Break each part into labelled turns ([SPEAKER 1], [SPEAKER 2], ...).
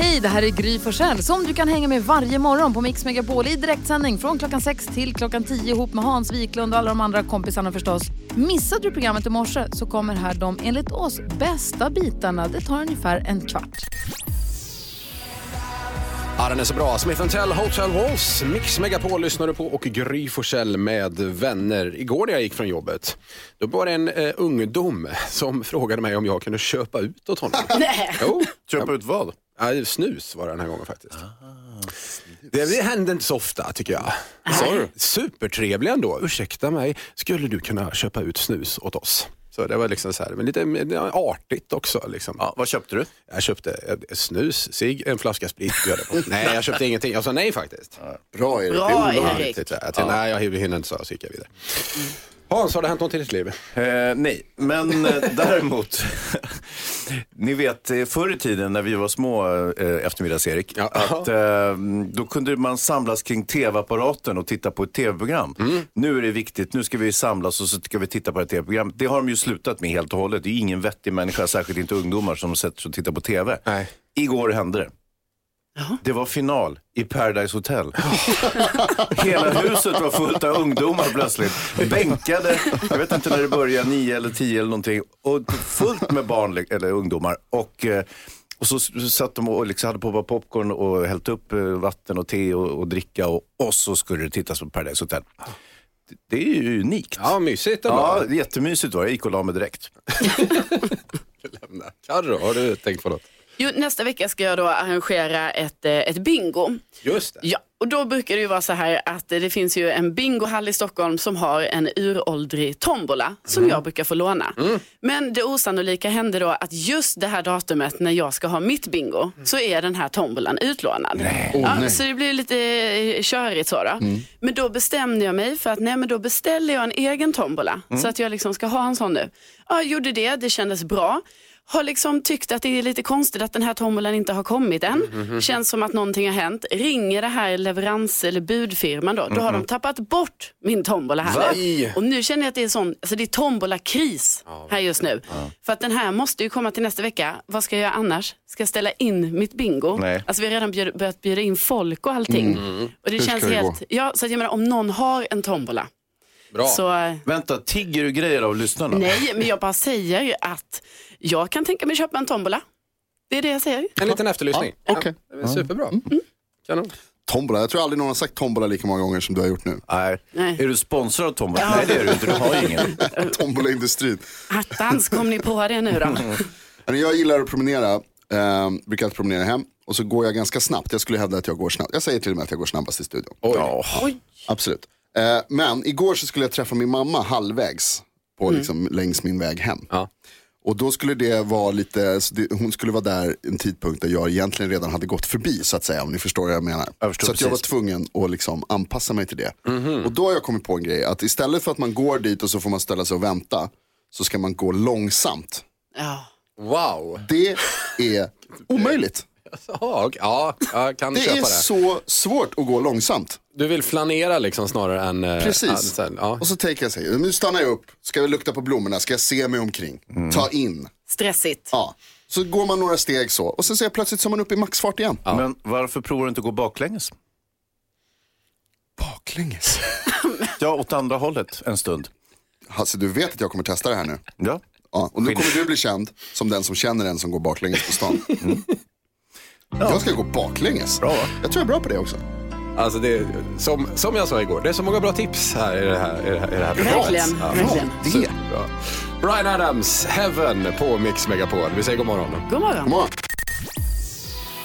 [SPEAKER 1] Hej, det här är Gry Forssell som du kan hänga med varje morgon på Mix Megapol i direktsändning från klockan 6 till klockan 10 ihop med Hans Wiklund och alla de andra kompisarna förstås. Missade du programmet i morse så kommer här de enligt oss bästa bitarna. Det tar ungefär en kvart.
[SPEAKER 2] Ja, den är så bra. Smith Tell Hotel Walls, Mix Megapol lyssnar du på och Gry Forssell med vänner. Igår när jag gick från jobbet, då var det en eh, ungdom som frågade mig om jag kunde köpa ut åt honom. Nej. Jo,
[SPEAKER 3] Köpa ut vad? Ah,
[SPEAKER 2] ja, snus var det den här gången faktiskt. det, det händer inte så ofta tycker jag.
[SPEAKER 3] Sa du?
[SPEAKER 2] Supertrevlig ändå. Ursäkta mig, skulle du kunna köpa ut snus åt oss? Så det var liksom så här, men lite eh, artigt också. Liksom.
[SPEAKER 3] Ja, vad köpte du?
[SPEAKER 2] Jag köpte ett snus, cigg, en flaska sprit. bjöd jag på. nej, jag köpte ingenting. Jag sa nej faktiskt.
[SPEAKER 3] Bra Erik.
[SPEAKER 4] Bra
[SPEAKER 2] Ja,
[SPEAKER 4] Erik.
[SPEAKER 2] riktigt, Jag tänkte, nej, jag hinner inte, så jag, så gick jag vidare. Hans, har det hänt något i ditt liv?
[SPEAKER 3] Eh, nej, men eh, däremot. ni vet eh, förr i tiden när vi var små, eh, eftermiddags-Erik,
[SPEAKER 2] Ja.
[SPEAKER 3] att eh, då kunde man samlas kring tv-apparaten och titta på ett tv-program. Nu är det viktigt, nu ska vi samlas och så ska vi titta på ett tv-program. Det har de ju slutat med helt och hållet. Det är ingen vettig människa, särskilt inte ungdomar, som sätter sig och tittar på tv.
[SPEAKER 2] Nej.
[SPEAKER 3] Igår hände det. Det var final i Paradise Hotel. Hela huset var fullt av ungdomar plötsligt. Bänkade, jag vet inte när det började, nio eller tio eller någonting. Och fullt med barn eller ungdomar. Och, eh, och så s- satt de och liksom hade på bara popcorn och hällt upp eh, vatten och te och, och dricka. Och, och så skulle det tittas på Paradise Hotel. Det- Det är ju unikt.
[SPEAKER 2] Ja, mysigt ändå.
[SPEAKER 3] Ja, jättemysigt var det. Jag gick och la mig direkt.
[SPEAKER 2] Carro, har du tänkt på något?
[SPEAKER 4] Jo, nästa vecka ska jag då arrangera ett, eh, ett bingo.
[SPEAKER 2] Just det.
[SPEAKER 4] Ja, och då brukar det ju vara så här att eh, det finns ju en bingohall i Stockholm som har en uråldrig tombola som jag brukar få låna. Men det osannolika hände då att just det här datumet när jag ska ha mitt bingo så är den här tombolan utlånad. ja, så det blir lite eh, körigt så då. Men då bestämde jag mig för att nej, men då beställer jag en egen tombola så att jag liksom ska ha en sån nu. Ja, jag gjorde det, det kändes bra har liksom tyckt att det är lite konstigt att den här tombolan inte har kommit än. Känns som att någonting har hänt. Ringer det här leverans eller budfirman då, då har de tappat bort min tombola här nu.
[SPEAKER 2] Va?
[SPEAKER 4] Och nu känner jag att det är sån, alltså det är tombolakris här just nu. För att den här måste ju komma till nästa vecka. Vad ska jag göra annars? Ska jag ställa in mitt bingo?
[SPEAKER 3] Nej.
[SPEAKER 4] Alltså vi har redan bjud, börjat bjuda in folk och allting. Och det känns helt, ja, så att jag menar om någon har en tombola
[SPEAKER 2] Bra.
[SPEAKER 4] så eh,
[SPEAKER 3] Vänta, tigger du grejer av lyssnarna?
[SPEAKER 4] Nej, men jag bara säger ju att jag kan tänka mig köpa en tombola. Det är det jag säger.
[SPEAKER 2] En liten efterlysning.
[SPEAKER 5] Ja, okej. Mm,
[SPEAKER 2] Ja, det är superbra. Kanon.
[SPEAKER 5] Tombola, jag tror aldrig någon har sagt tombola lika många gånger som du har gjort nu.
[SPEAKER 3] Nej.
[SPEAKER 4] Nej.
[SPEAKER 3] Är du sponsrad av Tombola? Nej, det är du inte. Du har ingen.
[SPEAKER 5] Tombolaindustrin.
[SPEAKER 4] Attans, kom ni på det nu då?
[SPEAKER 5] Men Alltså, Jag gillar att promenera, eh, brukar alltid promenera hem och så går jag ganska snabbt. Jag skulle hävda att jag går snabbt. Jag säger till och med att jag går snabbast i studion.
[SPEAKER 3] Ja.
[SPEAKER 5] Absolut. Eh, men igår så skulle jag träffa min mamma halvvägs på,
[SPEAKER 3] Mm.
[SPEAKER 5] liksom, längs min väg hem.
[SPEAKER 2] Ja.
[SPEAKER 5] Och då skulle det vara lite, så det, hon skulle vara där en tidpunkt där jag egentligen redan hade gått förbi så att säga om ni förstår vad jag menar.
[SPEAKER 3] Jag förstår
[SPEAKER 5] så att jag var
[SPEAKER 3] precis. Mhm.
[SPEAKER 5] tvungen att liksom anpassa mig till det. Och då har jag kommit på en grej, att istället för att man går dit och så får man ställa sig och vänta, så ska man gå långsamt.
[SPEAKER 4] Ja.
[SPEAKER 2] Wow.
[SPEAKER 5] Det är omöjligt.
[SPEAKER 2] Ja, och- ja, jag kan
[SPEAKER 5] Det
[SPEAKER 2] köpa
[SPEAKER 5] är
[SPEAKER 2] det.
[SPEAKER 5] så svårt att gå långsamt.
[SPEAKER 2] Du vill flanera liksom snarare än... eh, ja,
[SPEAKER 5] Precis.
[SPEAKER 2] så här, ja.
[SPEAKER 5] Och så tänker jag så här, nu stannar jag upp, ska jag lukta på blommorna, ska jag se mig omkring, ta in.
[SPEAKER 4] Stressigt.
[SPEAKER 5] Ja. Så går man några steg så och sen så är jag plötsligt som man uppe i maxfart igen.
[SPEAKER 3] Men varför provar du inte att gå baklänges?
[SPEAKER 5] Baklänges.
[SPEAKER 3] Ja, åt andra hållet en stund.
[SPEAKER 5] Hasse du vet att jag kommer testa det här nu.
[SPEAKER 3] Ja.
[SPEAKER 5] Ja. Och nu
[SPEAKER 3] Skit.
[SPEAKER 5] kommer du bli känd som den som känner en som går baklänges på stan. Jag ska gå baklänges.
[SPEAKER 3] Bra, va?
[SPEAKER 5] Jag tror jag är bra på det också.
[SPEAKER 2] Alltså det, är- som, som jag sa igår, det är så många bra tips här i det här, i det här, i det här programmet.
[SPEAKER 4] Verkligen,
[SPEAKER 2] Ja,
[SPEAKER 4] verkligen.
[SPEAKER 5] Det.
[SPEAKER 2] Superbra. Brian Adams, Heaven på Mix Megapol. Vi säger god morgon.
[SPEAKER 4] God morgon.
[SPEAKER 5] Kom on.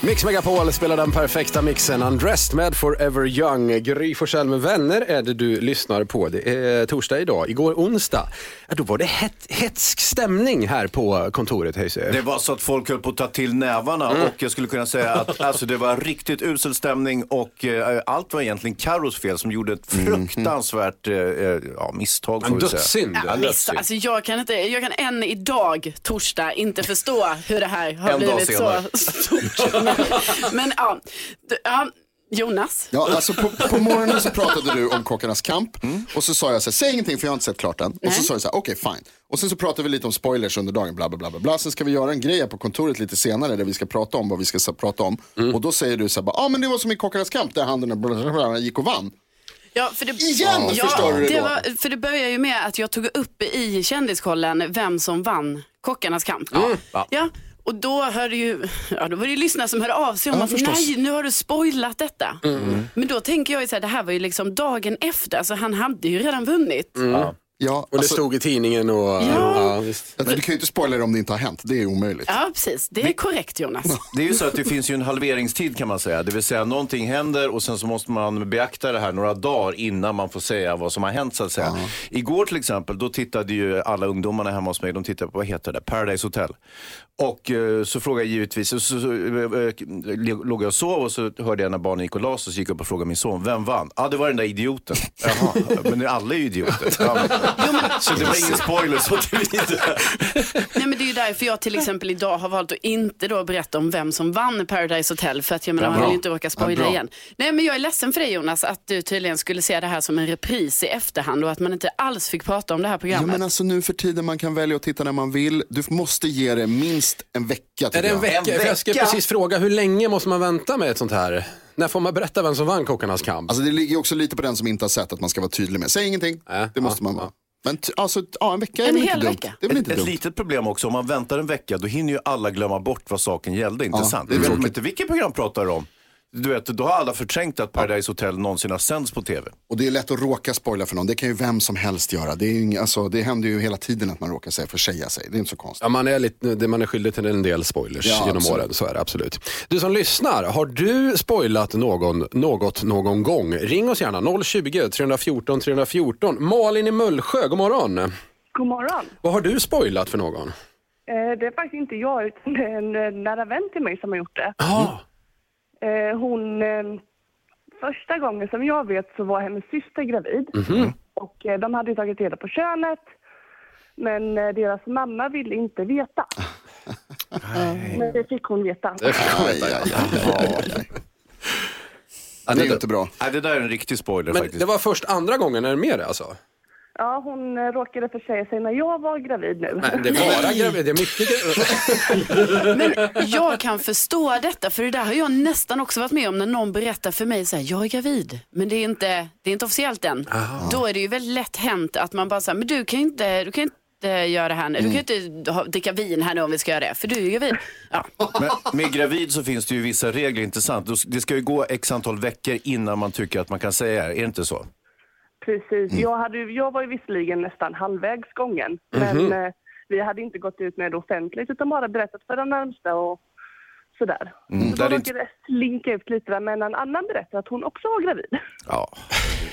[SPEAKER 2] Mix Megapol spelar den perfekta mixen. Undressed med Forever Young. Gry Forssell med vänner är det du lyssnar på. Det är torsdag idag. Igår onsdag, ja, då var det het, hetsk stämning här på kontoret. Hejse.
[SPEAKER 3] Det var så att folk höll på att ta till nävarna och jag skulle kunna säga att alltså, det var riktigt usel stämning och eh, allt var egentligen Carros fel som gjorde ett fruktansvärt eh, eh, ja, misstag.
[SPEAKER 2] En
[SPEAKER 3] får vi säga.
[SPEAKER 2] dödssynd.
[SPEAKER 4] Ja, visst, alltså jag, kan inte, jag kan än idag, torsdag, inte förstå hur det här har
[SPEAKER 3] En dag
[SPEAKER 4] blivit så
[SPEAKER 3] senare.
[SPEAKER 4] stort. Men, men ja, d- ja, Jonas,
[SPEAKER 5] Ja, alltså på, på morgonen så pratade du om Kockarnas kamp
[SPEAKER 2] Mm.
[SPEAKER 5] och så sa jag så här, säg ingenting för jag har inte sett klart än. Och så sa jag så här, okej fine. Och sen så pratade vi lite om spoilers under dagen, bla bla bla. bla, bla. Sen ska vi göra en grej här på kontoret lite senare där vi ska prata om vad vi ska så, prata om.
[SPEAKER 2] Mm.
[SPEAKER 5] Och då säger du så här, ja ah, men det var som i Kockarnas kamp där han den där bla, bla, bla, gick och vann.
[SPEAKER 4] Ja, för det,
[SPEAKER 5] Igen,
[SPEAKER 4] ja,
[SPEAKER 5] förstår du det då?
[SPEAKER 4] var, För det börjar ju med att jag tog upp i Kändiskollen vem som vann Kockarnas kamp.
[SPEAKER 5] Mm.
[SPEAKER 4] Ja. och då, hörde ju, ja, då var det ju lyssnare som hörde av sig om
[SPEAKER 5] Ja,
[SPEAKER 4] att
[SPEAKER 5] förstås. Mm.
[SPEAKER 4] nej, nu har du spoilat detta. Men då tänker jag ju så här, det här var ju liksom dagen efter, så han hade ju redan vunnit.
[SPEAKER 5] Mm. Ja,
[SPEAKER 2] Och det
[SPEAKER 5] alltså,
[SPEAKER 2] stod i tidningen och... Ja, visst.
[SPEAKER 5] men du kan ju inte spoila det om det inte har hänt, det är omöjligt.
[SPEAKER 4] Ja, precis. Det är korrekt Jonas.
[SPEAKER 3] Det är ju så att det finns ju en halveringstid kan man säga. Det vill säga någonting händer och sen så måste man beakta det här några dagar innan man får säga vad som har hänt så att säga. Igår till exempel, då tittade ju alla ungdomarna hemma hos mig, de tittade på, vad heter det, Paradise Hotel. Och eh, så frågade jag givetvis, så, så, så eh, låg jag och sov och så hörde jag när barnen gick och la sig och så gick jag upp och frågade min son, vem vann? Ja, ah, det var den där idioten. Jaha, men alla är ju idioter. Ja, men, så det var ingen spoiler så tillvida.
[SPEAKER 4] Nej, men det är ju därför jag till exempel idag har valt att inte då berätta om vem som vann Paradise Hotel. För att jag menar, man vill ju inte råka spoila igen. Nej, men jag är ledsen för dig Jonas, att du tydligen skulle se det här som en repris i efterhand och att man inte alls fick prata om det här
[SPEAKER 5] Ja,
[SPEAKER 4] programmet.
[SPEAKER 5] men alltså nu för tiden man kan välja att titta när man vill. Du måste ge det minst en vecka.
[SPEAKER 2] Är
[SPEAKER 5] tycker
[SPEAKER 2] det en
[SPEAKER 5] jag.
[SPEAKER 2] vecka?
[SPEAKER 3] En
[SPEAKER 2] För Jag ska
[SPEAKER 3] vecka?
[SPEAKER 2] precis fråga, hur länge måste man vänta med ett sånt här? När får man berätta vem som vann Kockarnas kamp?
[SPEAKER 5] Alltså det ligger ju också lite på den som inte har sett att man ska vara tydlig med. Säg ingenting,
[SPEAKER 2] Nej,
[SPEAKER 5] det måste
[SPEAKER 2] Äh, ja,
[SPEAKER 5] man vara. Men t- alltså, t- ja, en vecka är
[SPEAKER 4] En
[SPEAKER 5] väl inte
[SPEAKER 4] hel
[SPEAKER 5] dumt.
[SPEAKER 4] vecka.
[SPEAKER 5] Det är väl
[SPEAKER 3] Ett,
[SPEAKER 5] inte
[SPEAKER 3] ett
[SPEAKER 5] dumt.
[SPEAKER 3] litet problem också, om man väntar en vecka då hinner ju alla glömma bort vad saken gällde, inte
[SPEAKER 5] Ja,
[SPEAKER 3] sant?
[SPEAKER 5] det är
[SPEAKER 3] Det är
[SPEAKER 5] tråkigt.
[SPEAKER 3] inte vilket program pratar du om? Du vet, då har alla förträngt att Paradise Hotel någonsin har sänds på tv.
[SPEAKER 5] Och det är lätt att råka spoila för någon. Det kan ju vem som helst göra. Det, är ju inga, alltså, det händer ju hela tiden att man råkar säga försäga sig. Det är inte så konstigt.
[SPEAKER 2] Ja, man, är lite, det- man är skyldig till en del spoilers
[SPEAKER 5] Ja,
[SPEAKER 2] genom
[SPEAKER 5] absolut.
[SPEAKER 2] åren, så är det absolut. Du som lyssnar, har du spoilat någon, något någon gång? Ring oss gärna, 020 314 314. Malin i Mullsjö, god morgon.
[SPEAKER 6] God morgon.
[SPEAKER 2] Vad har du spoilat för någon?
[SPEAKER 6] Eh, det är faktiskt inte jag, utan det är en eh, nära vän till mig som har gjort det.
[SPEAKER 2] Ja,
[SPEAKER 6] Eh, hon, eh, första gången som jag vet så var hennes syster gravid. Och eh, de hade ju tagit reda på könet. Men eh, deras mamma ville inte veta. men det fick hon veta.
[SPEAKER 2] det fick jag
[SPEAKER 5] Aj,
[SPEAKER 2] veta.
[SPEAKER 5] aj, aj.
[SPEAKER 2] Ja,
[SPEAKER 5] Det är
[SPEAKER 2] det-
[SPEAKER 5] ju inte bra.
[SPEAKER 3] Nej, det där är en riktig spoiler
[SPEAKER 2] Men
[SPEAKER 3] faktiskt.
[SPEAKER 2] det var först andra gången, är det med det alltså?
[SPEAKER 6] Ja, hon eh, råkade försäga sig när jag var gravid nu.
[SPEAKER 2] Nej, det är bara gravid, det är mycket gravid.
[SPEAKER 4] Men jag kan förstå detta, för det där har jag nästan också varit med om när någon berättar för mig så här, jag är gravid, men det är inte, det är inte officiellt än. Då är det ju väldigt lätt hänt att man bara säger, men du kan ju inte, du kan ju inte göra det här nu. Du kan ju
[SPEAKER 5] Mm.
[SPEAKER 4] inte ha- dricka vin här nu om vi ska göra det, för du är ju gravid. Ja.
[SPEAKER 3] Men med gravid så finns det ju vissa regler, inte sant? Då s- Det ska ju gå x antal veckor innan man tycker att man kan säga det här, är det inte så? Mm.
[SPEAKER 6] Precis. Jag, hade, ju- jag var ju visserligen nästan halvvägs gången. Men eh, vi hade inte gått ut med det offentligt utan bara berättat för de närmsta och sådär. så
[SPEAKER 3] det
[SPEAKER 6] då
[SPEAKER 3] hade
[SPEAKER 6] råkade
[SPEAKER 3] inte-
[SPEAKER 6] det slinka ut lite där, men en annan berättade att hon också var gravid.
[SPEAKER 3] Ja.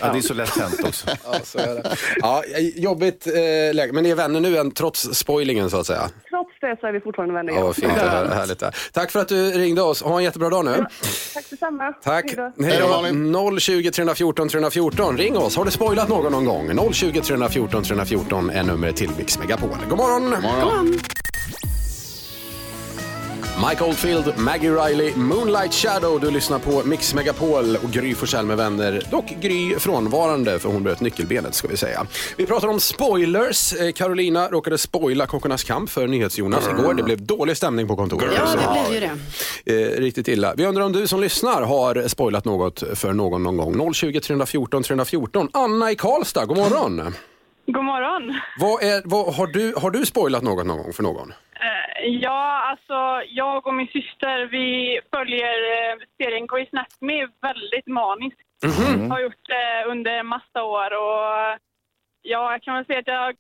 [SPEAKER 3] det är så lätt hänt också.
[SPEAKER 2] Ja, så är det. Ja, jobbigt eh, läge. Men ni är vänner nu än, trots spoilingen så att säga?
[SPEAKER 6] Trots det så är vi fortfarande vänner.
[SPEAKER 2] Ja, vad fint. Det här, härligt det här. Tack för att du ringde oss. Ha en jättebra dag nu.
[SPEAKER 6] Tack detsamma.
[SPEAKER 2] Tack.
[SPEAKER 6] Hej då.
[SPEAKER 5] Hej då,
[SPEAKER 2] Hej 020 314 314. Ring oss. Har du spoilat någon någon gång? 020 314 314 är numret till Mix Megapol. God morgon! Mike Oldfield, Maggie Riley, Moonlight Shadow. Du lyssnar på Mix Megapol och Gry Forssell med vänner. Dock Gry frånvarande för hon bröt nyckelbenet ska vi säga. Vi pratar om spoilers. Eh, Carolina råkade spoila Kockarnas kamp för NyhetsJonas igår. Det blev dålig stämning på kontoret.
[SPEAKER 4] Ja, det blev ju det.
[SPEAKER 2] Eh, riktigt illa. Vi undrar om du som lyssnar har spoilat något för någon någon gång. 020 314 314. Anna i Karlstad, god morgon.
[SPEAKER 6] God morgon.
[SPEAKER 2] Vad är, vad, har, du, har du spoilat något någon gång för någon?
[SPEAKER 6] Ja, alltså jag och min syster vi följer serien Grey's Anatomy väldigt maniskt.
[SPEAKER 7] Mm.
[SPEAKER 6] Har gjort det under massa år och ja, jag kan väl säga att jag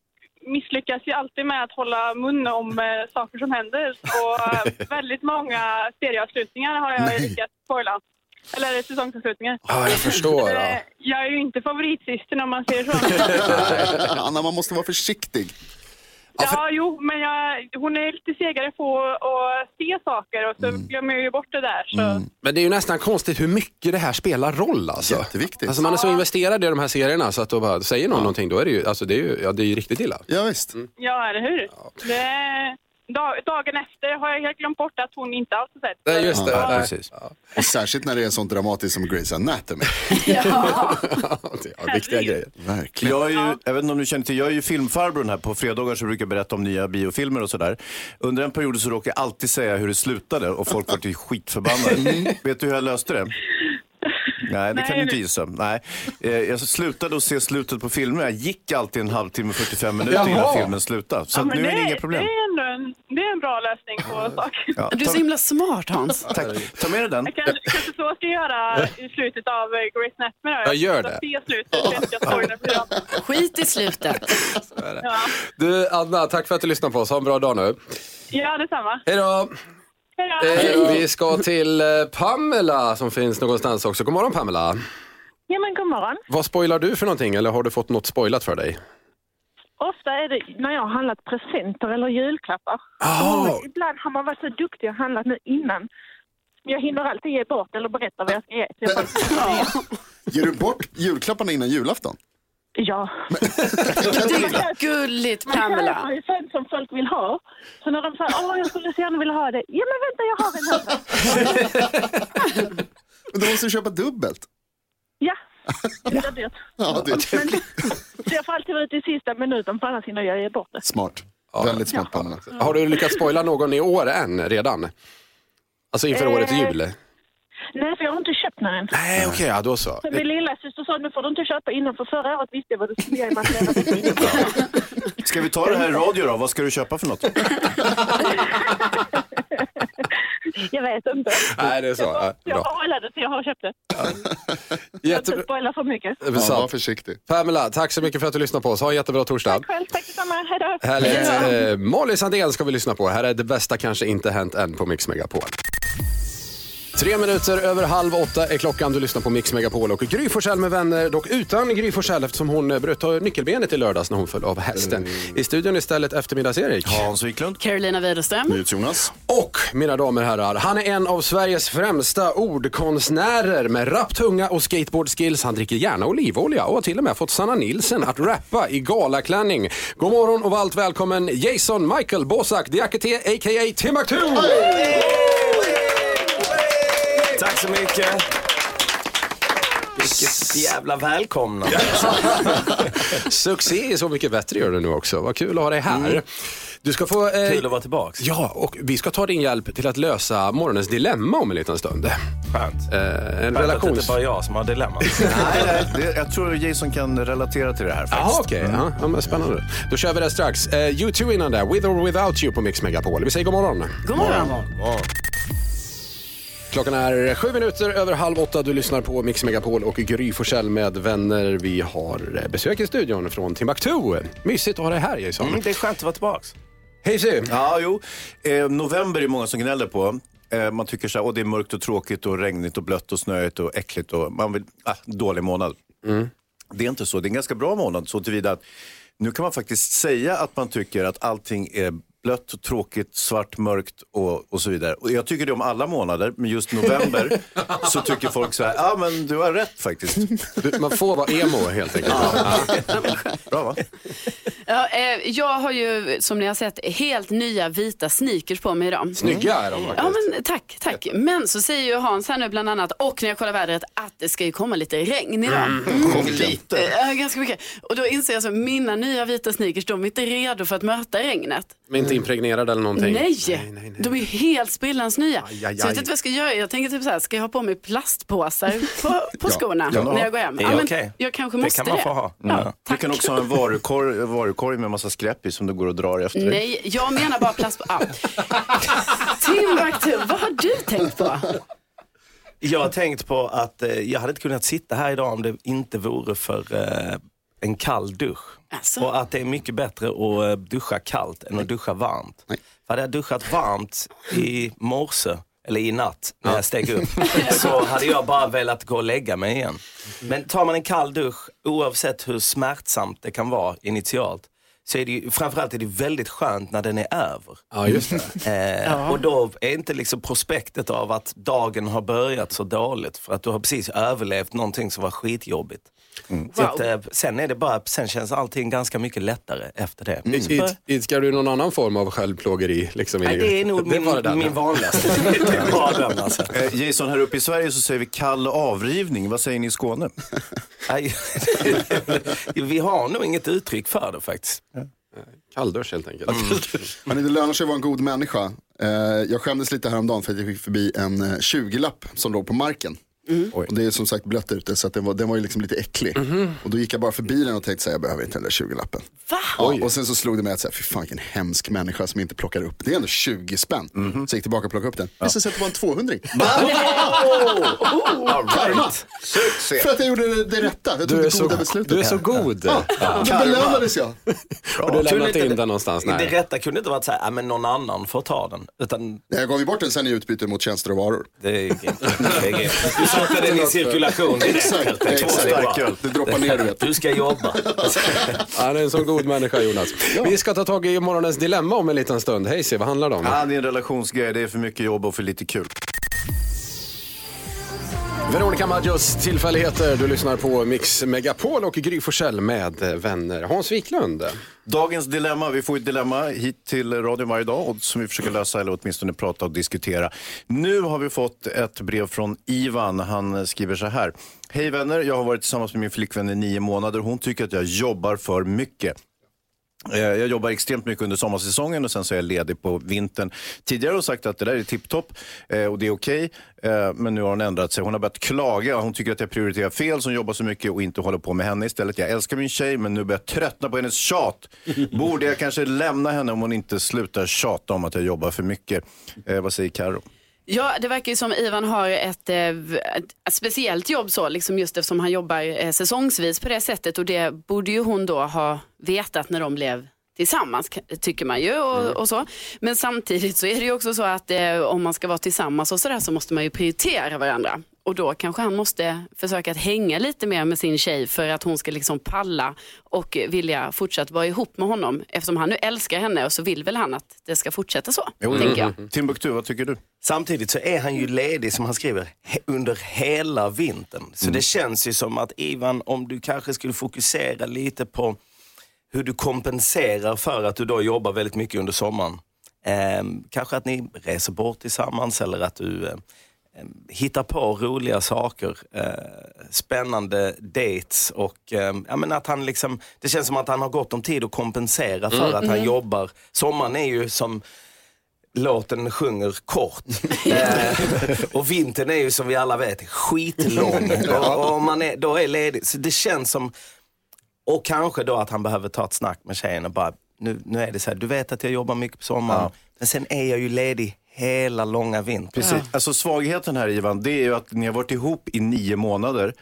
[SPEAKER 7] misslyckas ju alltid med att hålla mun om eh, saker som händer. Och eh, väldigt många serieavslutningar har jag
[SPEAKER 2] Nej.
[SPEAKER 7] lyckats spoila. Eller säsongsavslutningar.
[SPEAKER 2] Ja, jag förstår.
[SPEAKER 7] Eh,
[SPEAKER 2] Ja.
[SPEAKER 7] Jag är ju inte favoritsystern om man säger så.
[SPEAKER 5] Anna, man måste vara försiktig.
[SPEAKER 7] Ja, jo, men jag, hon är lite segare på att se saker och så
[SPEAKER 2] Mm.
[SPEAKER 7] glömmer jag ju bort det där. Så.
[SPEAKER 5] Mm.
[SPEAKER 2] Men det är ju nästan konstigt hur mycket det här spelar roll. Alltså.
[SPEAKER 5] Jätteviktigt.
[SPEAKER 2] Alltså man är så investerad i de här serierna så att då bara, säger någon någonting då är det ju, alltså det är ju, ja, det är ju riktigt illa.
[SPEAKER 5] Ja, visst.
[SPEAKER 7] Ja, eller hur? Det, dag, dagen efter har jag helt glömt bort att hon inte alls har sett.
[SPEAKER 2] Nej, just det.
[SPEAKER 5] Ja,
[SPEAKER 2] Nej.
[SPEAKER 3] precis.
[SPEAKER 5] Och särskilt när det är sånt dramatiskt som Grey's Anatomy.
[SPEAKER 2] Ja, viktiga grejer.
[SPEAKER 5] Verkligen.
[SPEAKER 3] Jag, är ju, jag vet inte om du känner till, jag är ju filmfarbrorn här på fredagar så brukar jag berätta om nya biofilmer och sådär. Under en period så råkade jag alltid säga hur det slutade och folk vart ju skitförbannade. vet du hur jag löste det? Nej, det kan du inte gissa. Nej. Eh, Jag slutade att se slutet på filmer. Jag gick alltid en halvtimme, 45 minuter innan filmen slutade. Så att
[SPEAKER 7] Men
[SPEAKER 3] nu är det
[SPEAKER 7] det,
[SPEAKER 3] inga problem.
[SPEAKER 7] det är ändå en, det är en bra lösning på saker.
[SPEAKER 3] Ja,
[SPEAKER 4] Du är så
[SPEAKER 3] ta,
[SPEAKER 4] himla smart Hans.
[SPEAKER 3] tack. Ta med dig den.
[SPEAKER 7] Jag kanske, kanske så ska jag göra i slutet av eh, Grey's Anatomy. då.
[SPEAKER 2] Ja, gör
[SPEAKER 7] ska
[SPEAKER 2] det.
[SPEAKER 7] Se slutet, så att jag spoilar för dem.
[SPEAKER 4] Skit i slutet.
[SPEAKER 2] Du Anna, tack för att du lyssnade på oss. Ha en bra dag nu.
[SPEAKER 7] Ja, detsamma.
[SPEAKER 2] Hej då!
[SPEAKER 7] Hej då!
[SPEAKER 2] Eh, vi ska till eh, Pamela som finns någonstans också. God morgon Pamela.
[SPEAKER 7] Ja, men god morgon.
[SPEAKER 2] Vad spoilar du för någonting eller har du fått något spoilat för dig?
[SPEAKER 7] Ofta är det när jag har handlat presenter eller julklappar.
[SPEAKER 2] Oh.
[SPEAKER 7] Och Ibland har man varit så duktig och handlat nu innan. Jag hinner alltid ge bort eller berätta vad jag ska ge. Så jag bara,
[SPEAKER 5] Ger du bort julklapparna innan julafton?
[SPEAKER 7] ja.
[SPEAKER 4] Det är gulligt
[SPEAKER 7] Man
[SPEAKER 4] Pamela.
[SPEAKER 7] köper ju sånt som folk vill ha. Så när de säger åh jag skulle så gärna vilja ha det. Ja men vänta jag har en här.
[SPEAKER 5] Men då måste du köpa dubbelt.
[SPEAKER 7] Ja. Det blir dyrt.
[SPEAKER 5] Ja, det är
[SPEAKER 7] Så jag får alltid vara ute i sista minuten för annars hinner jag ge bort det.
[SPEAKER 5] smart. Väldigt smart, Pamela.
[SPEAKER 7] Mm.
[SPEAKER 2] Har du lyckats spoila någon i år än redan? Alltså inför
[SPEAKER 7] Eh.
[SPEAKER 2] årets jul?
[SPEAKER 7] Nej för jag har inte köpt någon än.
[SPEAKER 2] Nej, okej, ja, då så.
[SPEAKER 7] Så min lilla syster sa nu får du inte köpa innan för förra året visste jag vad du skulle ge mig. att leva på."
[SPEAKER 3] Ska vi ta det här i radio då? Vad ska du köpa för något?
[SPEAKER 7] Jag vet inte.
[SPEAKER 2] Nej, det är så. Ja,
[SPEAKER 7] Jag
[SPEAKER 2] bra.
[SPEAKER 7] har det till jag har köpt det. Jag
[SPEAKER 2] Jättebra.
[SPEAKER 7] inte spoilar för mycket.
[SPEAKER 5] Ja,
[SPEAKER 2] Sant.
[SPEAKER 5] var försiktig.
[SPEAKER 2] Pamela, tack så mycket för att du lyssnade på oss. Ha en jättebra torsdag.
[SPEAKER 7] Själv tack detsamma. Hej då.
[SPEAKER 2] Härligt. Eh, Molly Sandén ska vi lyssna på. Här är det bästa kanske inte hänt än på Mix Megapol. Tre minuter över halv åtta är klockan. Du lyssnar på Mix Megapol och Gry Forssell med vänner, dock utan Gry Forssell eftersom hon eh, bröt nyckelbenet i lördags när hon föll av hästen. I studion istället eftermiddags-Erik.
[SPEAKER 3] Hans Wiklund?
[SPEAKER 4] Carolina Widerström.
[SPEAKER 5] Jonas.
[SPEAKER 2] Och mina damer och herrar, han är en av Sveriges främsta ordkonstnärer med rapp tunga och skateboardskills. Han dricker gärna olivolja och har till och med fått Sanna Nilsen att rappa i galaklänning. God morgon och varmt välkommen Jason Michael Bosak Diakité a.k.a. Timbuktu!
[SPEAKER 8] Tack så mycket. Vilket jävla välkomna.
[SPEAKER 2] Succé är så mycket bättre gör du nu också. Vad kul att ha dig här. Du ska få... eh,
[SPEAKER 8] Mm. Kul att vara tillbaks.
[SPEAKER 2] Ja, och vi ska ta din hjälp till att lösa morgonens dilemma om en liten stund.
[SPEAKER 8] Skönt.
[SPEAKER 2] Eh, en
[SPEAKER 8] Skönt att det
[SPEAKER 2] relations...
[SPEAKER 8] inte bara är jag som har dilemman.
[SPEAKER 3] Nej, nej, det, jag tror Jason kan relatera till det här faktiskt.
[SPEAKER 2] Jaha, okej. Ja, ja, men spännande. Då kör vi det strax. Eh, U2 innan det. With or without you på Mix Megapol. Vi säger god morgon.
[SPEAKER 4] God morgon.
[SPEAKER 2] Klockan är sju minuter över halv åtta. Du lyssnar på Mix Megapol och Gry Forssell med vänner. Vi har eh, besök i studion från Timbuktu. Mysigt att ha dig här Jason.
[SPEAKER 8] Mm, det är skönt att vara tillbaks.
[SPEAKER 2] Hej Sy.
[SPEAKER 3] Ja, jo. Eh, november är många som gnäller på. Eh, man tycker så här, åh det är mörkt och tråkigt och regnigt och blött och snöigt och äckligt och man vill, ah, dålig månad. Det är inte så, det är en ganska bra månad så tillvida att nu kan man faktiskt säga att man tycker att allting är blött, och tråkigt, svart, mörkt och, och så vidare. Och jag tycker det om alla månader, men just november så tycker folk så här, ja ah, men du har rätt faktiskt.
[SPEAKER 2] Du, man får vara emo helt enkelt.
[SPEAKER 3] Bra va?
[SPEAKER 4] Ja, eh, jag har ju som ni har sett helt nya vita sneakers på mig idag. Mm.
[SPEAKER 2] Snygga är de
[SPEAKER 4] Ja,
[SPEAKER 2] faktiskt.
[SPEAKER 4] men tack, tack. Men så säger ju Hans här nu bland annat, och när jag kollar vädret, att det ska ju komma lite regn idag.
[SPEAKER 2] Mm.
[SPEAKER 4] Mm.
[SPEAKER 3] Lite.
[SPEAKER 4] Eh, ganska mycket. Och då inser jag så mina nya vita sneakers, de är inte redo för att möta regnet.
[SPEAKER 2] De är inte impregnerade eller någonting.
[SPEAKER 4] Mm. Nej, de är ju helt sprillans nya.
[SPEAKER 2] Aj, aj, aj.
[SPEAKER 4] Så jag vet inte vad jag ska göra. Jag tänker typ så här, ska jag ha på mig plastpåsar på, på skorna
[SPEAKER 3] ja.
[SPEAKER 4] när jag går hem?
[SPEAKER 8] Det är
[SPEAKER 4] men
[SPEAKER 8] okej.
[SPEAKER 4] Jag kanske
[SPEAKER 8] Det
[SPEAKER 4] måste
[SPEAKER 8] kan man få ha.
[SPEAKER 4] Ja,
[SPEAKER 3] Du
[SPEAKER 4] tack.
[SPEAKER 3] kan också ha en varukorg, varukorg med massa skräp i som du går och drar efter dig.
[SPEAKER 4] Nej, jag menar bara plast... Ah. Timbuktu, vad har du tänkt på?
[SPEAKER 8] Jag har tänkt på att eh, jag hade inte kunnat sitta här idag om det inte vore för eh, en kall dusch.
[SPEAKER 4] Alltså.
[SPEAKER 8] Och att det är mycket bättre att eh, duscha kallt än att duscha varmt. För hade jag duschat varmt i morse, eller i natt, när jag steg upp, så hade jag bara velat gå och lägga mig igen. Men tar man en kall dusch, oavsett hur smärtsamt det kan vara initialt, så är det ju, framförallt är det väldigt skönt när den är över.
[SPEAKER 2] Ja, just
[SPEAKER 8] Eh,
[SPEAKER 2] Ja.
[SPEAKER 8] Och då är inte liksom prospektet av att dagen har börjat så dåligt för att du har precis överlevt någonting som var skitjobbigt.
[SPEAKER 2] Mm.
[SPEAKER 8] Så att, eh, sen, är det bara, sen känns allting ganska mycket lättare efter det.
[SPEAKER 2] Mm.
[SPEAKER 8] Så bara-
[SPEAKER 2] Id- Idkar du någon annan form av självplågeri? Liksom, i
[SPEAKER 8] Nej, det är nog min-
[SPEAKER 2] var det där.
[SPEAKER 8] min vanligaste. Det är bara den, alltså.
[SPEAKER 3] Eh, Jason, här uppe i Sverige så säger vi kall avrivning. Vad säger ni i Skåne?
[SPEAKER 8] Nej, vi har nog inget uttryck för det faktiskt.
[SPEAKER 2] Kalldusch helt enkelt. Mm.
[SPEAKER 5] Men det lönar sig att vara en god människa. Eh, jag skämdes lite häromdagen för att jag fick förbi en eh, 20-lapp som låg på marken.
[SPEAKER 2] Mm.
[SPEAKER 5] Och det är som sagt blött ute så att den, var, den var ju liksom lite äcklig.
[SPEAKER 2] Mm-hmm.
[SPEAKER 5] Och då gick jag bara förbi den och tänkte så här, jag behöver inte den där 20-lappen. Ja, och sen så slog det mig att, så här, fy fan vilken hemsk människa som inte plockar upp. Det är ändå 20 spänn.
[SPEAKER 2] Mm-hmm.
[SPEAKER 5] Så jag gick tillbaka och plockade upp den. Det visade sig att det var en 200 Karma! För att jag gjorde det rätta. Jag tog
[SPEAKER 2] Du är
[SPEAKER 5] det
[SPEAKER 2] så-
[SPEAKER 5] goda beslutet.
[SPEAKER 2] du är så god.
[SPEAKER 5] Ja,
[SPEAKER 2] Ja.
[SPEAKER 5] då belönades jag.
[SPEAKER 2] Och du lämnat in den någonstans?
[SPEAKER 8] Det
[SPEAKER 2] Nej.
[SPEAKER 8] rätta kunde inte varit så här, "Ah, men någon annan får ta den. Utan
[SPEAKER 5] Jag gav ju bort den sen i utbyte mot tjänster och varor.
[SPEAKER 8] Det är Du satte den i cirkulation direkt.
[SPEAKER 5] Exakt,
[SPEAKER 8] Två stora.
[SPEAKER 5] exakt. Det droppar ner du vet.
[SPEAKER 8] Du ska jobba.
[SPEAKER 2] Han är en så god människa Jonas. Vi ska ta tag i morgonens dilemma om en liten stund. Hej se, vad handlar det om?
[SPEAKER 3] Ah, det är en relationsgrej. Det är för mycket jobb och för lite kul.
[SPEAKER 2] Veronica Maggios tillfälligheter. Du lyssnar på Mix Megapol och Gry Forssell med eh, vänner. Hans Wiklund.
[SPEAKER 3] Dagens dilemma, vi får ett dilemma hit till radion varje dag och som vi försöker lösa eller åtminstone prata och diskutera. Nu har vi fått ett brev från Ivan. Han skriver så här. Hej vänner, jag har varit tillsammans med min flickvän i nio månader. Hon tycker att jag jobbar för mycket. Eh, Jag jobbar extremt mycket under sommarsäsongen och sen så är jag ledig på vintern. Tidigare har hon sagt att det där är tipptopp eh, och det är okej. eh, Men nu har hon ändrat sig. Hon har börjat klaga. Hon tycker att jag prioriterar fel som jobbar så mycket och inte håller på med henne istället. Jag älskar min tjej men nu börjar jag tröttna på hennes tjat. Borde jag kanske lämna henne om hon inte slutar tjata om att jag jobbar för mycket? Eh, Vad säger Karo?
[SPEAKER 4] Ja, det verkar ju som Ivan har ett, eh, ett speciellt jobb så, liksom just eftersom han jobbar eh, säsongsvis på det sättet och det borde ju hon då ha vetat när de blev tillsammans k- tycker man ju och, och så. Men samtidigt så är det ju också så att eh, om man ska vara tillsammans och sådär så måste man ju prioritera varandra. Och då kanske han måste försöka att hänga lite mer med sin tjej för att hon ska liksom palla och eh, vilja fortsatt vara ihop med honom. Eftersom han nu älskar henne och så vill väl han att det ska fortsätta så, tänker
[SPEAKER 3] Mm.
[SPEAKER 4] jag.
[SPEAKER 3] Timbuktu, vad tycker du?
[SPEAKER 8] Samtidigt så är han ju ledig, som han skriver, he- under hela vintern. Så det känns ju som att Ivan, om du kanske skulle fokusera lite på hur du kompenserar för att du då jobbar väldigt mycket under sommaren. Ehm, kanske att ni reser bort tillsammans eller att du eh, em, hittar på roliga saker, eh, spännande dates och ehm, ja, men att han liksom, det känns som att han har gott om tid att kompensera för
[SPEAKER 9] Mm.
[SPEAKER 8] att han
[SPEAKER 9] Mm.
[SPEAKER 8] jobbar. Sommaren är ju som låten sjunger kort. Eh, och vintern är ju som vi alla vet skitlång. Och, och om man är, då är ledig. Så det känns som, och kanske då att han behöver ta ett snack med tjejen och bara, nu, nu är det så här, du vet att jag jobbar mycket på sommaren, men sen är jag ju ledig hela långa vintern.
[SPEAKER 3] Precis. Alltså svagheten här Ivan, det är ju att ni har varit ihop i nio månader.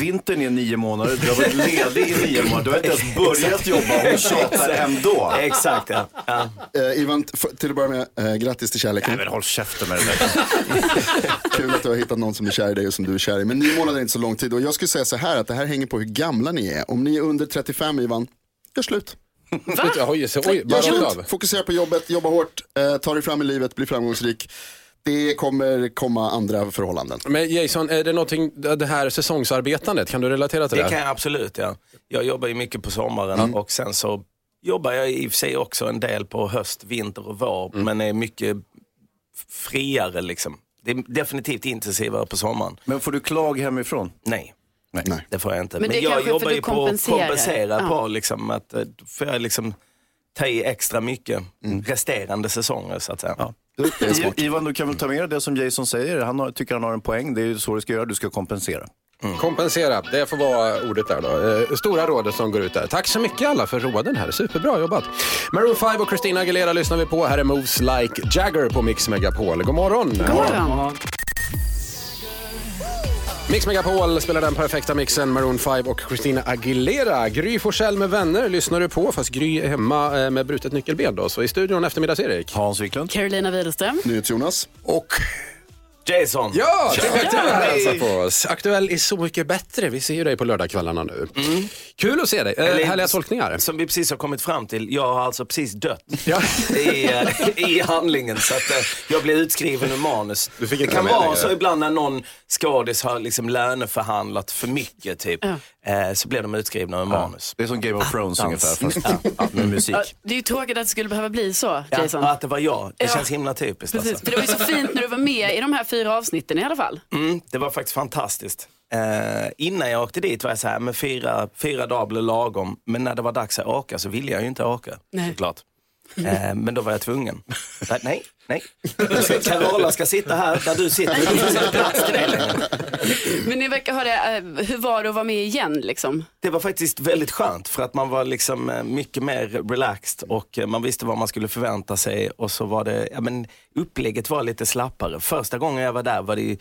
[SPEAKER 3] Vintern är nio månader, du har varit ledig i nio månader, du har inte ens börjat jobba och hon tjatar ändå.
[SPEAKER 8] Exakt, ja.
[SPEAKER 5] Eh, Ivan, t- f- till att börja med, eh, grattis till kärleken.
[SPEAKER 3] Nej men håll käften med det där.
[SPEAKER 5] Kul att du har hittat någon som är kär i dig och som du är kär i. Men nio månader är inte så lång tid. Och jag skulle säga så här att det här hänger på hur gamla ni är. Om ni är under 35 Ivan, gör slut.
[SPEAKER 2] Oj, så, oj, bara
[SPEAKER 5] Gör
[SPEAKER 2] rakt
[SPEAKER 5] slut.
[SPEAKER 2] av.
[SPEAKER 5] Fokusera på jobbet, jobba hårt, eh, ta dig fram i livet, bli framgångsrik. Det kommer komma andra förhållanden.
[SPEAKER 2] Men Jason, är det någonting, det här säsongsarbetandet, kan du relatera till det?
[SPEAKER 8] Det kan jag absolut, ja. Mm. Jag jobbar ju mycket på sommaren och sen så jobbar jag i och för sig också en del på höst, vinter och vår, men är mycket f- friare liksom. Det är definitivt intensivare på sommaren.
[SPEAKER 3] Men får du klag hemifrån?
[SPEAKER 8] Nej.
[SPEAKER 3] Nej.
[SPEAKER 8] det får jag inte.
[SPEAKER 4] Men
[SPEAKER 8] Men,
[SPEAKER 4] det är
[SPEAKER 8] jag
[SPEAKER 4] kanske
[SPEAKER 8] jobbar
[SPEAKER 4] för
[SPEAKER 8] ju
[SPEAKER 4] du
[SPEAKER 8] på att
[SPEAKER 4] kompenserar.
[SPEAKER 8] kompensera
[SPEAKER 4] Ja.
[SPEAKER 8] på liksom att eh, då får jag liksom ta i extra mycket resterande säsonger så att säga.
[SPEAKER 3] I- Ivan, du kan väl ta med dig det som Jason säger? Han har, tycker han har en poäng. Det är ju så du ska göra, du ska kompensera.
[SPEAKER 2] Kompensera, det får vara ordet där då. Eh, Stora rådet som går ut där. Tack så mycket alla för råden här, superbra jobbat. Maroon 5 och Christina Aguilera lyssnar vi på. Här är Moves Like Jagger på Mix Megapol. God morgon!
[SPEAKER 4] God morgon.
[SPEAKER 2] Mix Megapol spelar den perfekta mixen Maroon 5 och Christina Aguilera. Gry Forssell med vänner lyssnar du på, fast Gry är hemma eh, med brutet nyckelben. Då. Så i studion eftermiddags-Erik.
[SPEAKER 3] Hans Wiklund.
[SPEAKER 4] Carolina Widerström.
[SPEAKER 5] Jonas.
[SPEAKER 2] Och
[SPEAKER 8] Jason.
[SPEAKER 2] Ja, trevligt att du är här och
[SPEAKER 8] Hej.
[SPEAKER 2] hälsar på oss. Aktuell är så mycket bättre. Vi ser ju dig på lördagskvällarna nu. Kul att se dig. Eh, härliga tolkningar.
[SPEAKER 8] Som vi precis har kommit fram till, jag har alltså precis dött i, eh, i handlingen. Så att eh, jag blev utskriven ur manus.
[SPEAKER 2] fick
[SPEAKER 8] det
[SPEAKER 2] inte
[SPEAKER 8] kan
[SPEAKER 2] vara med
[SPEAKER 8] vara
[SPEAKER 2] längre.
[SPEAKER 8] så ibland när någon skådis har liksom löneförhandlat för mycket typ, eh, så blir de utskrivna ur manus.
[SPEAKER 3] Det är som Game of Thrones ungefär, fast-
[SPEAKER 8] med musik.
[SPEAKER 4] Ja, det är ju tråkigt att det skulle behöva bli så,
[SPEAKER 8] Ja,
[SPEAKER 4] Jason.
[SPEAKER 8] att det var jag. Det
[SPEAKER 4] Ja.
[SPEAKER 8] känns himla typiskt.
[SPEAKER 4] Precis,
[SPEAKER 8] alltså.
[SPEAKER 4] för det var ju så fint när du var med i de här fyra avsnitten i alla fall.
[SPEAKER 8] Mm, det var faktiskt fantastiskt. Eh, innan jag åkte dit var jag så här, men fyra, fyra dagar blev lagom. Men när det var dags att åka så ville jag ju inte åka.
[SPEAKER 4] Nej.
[SPEAKER 8] Såklart. Eh, men då var jag tvungen. Nej, nej. nej. Du ska- Carola ska sitta här där du sitter. Det finns inte plats till dig längre.
[SPEAKER 4] Men ni verkar ha det, eh, hur var det att vara med igen liksom?
[SPEAKER 8] Det var faktiskt väldigt skönt för att man var liksom eh, mycket mer relaxed och eh, man visste vad man skulle förvänta sig och så var det, ja men upplägget var lite slappare. Första gången jag var där var det ju,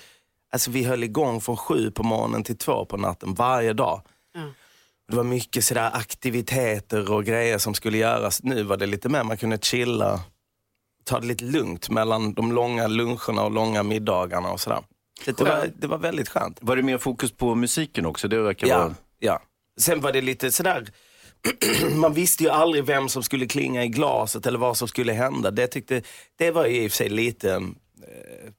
[SPEAKER 8] alltså vi höll igång från sju på morgonen till två på natten varje dag. Det var mycket sådär aktiviteter och grejer som skulle göras. Nu var det lite mer, man kunde chilla, ta det lite lugnt mellan de långa luncherna och långa middagarna och sådär. Det var, det var väldigt skönt.
[SPEAKER 3] Var det mer fokus på musiken också? Det verkar
[SPEAKER 8] Ja,
[SPEAKER 3] vara...
[SPEAKER 8] ja. Sen var det lite sådär, man visste ju aldrig vem som skulle klinga i glaset eller vad som skulle hända. Det, tyckte, det var ju i och för sig lite eh,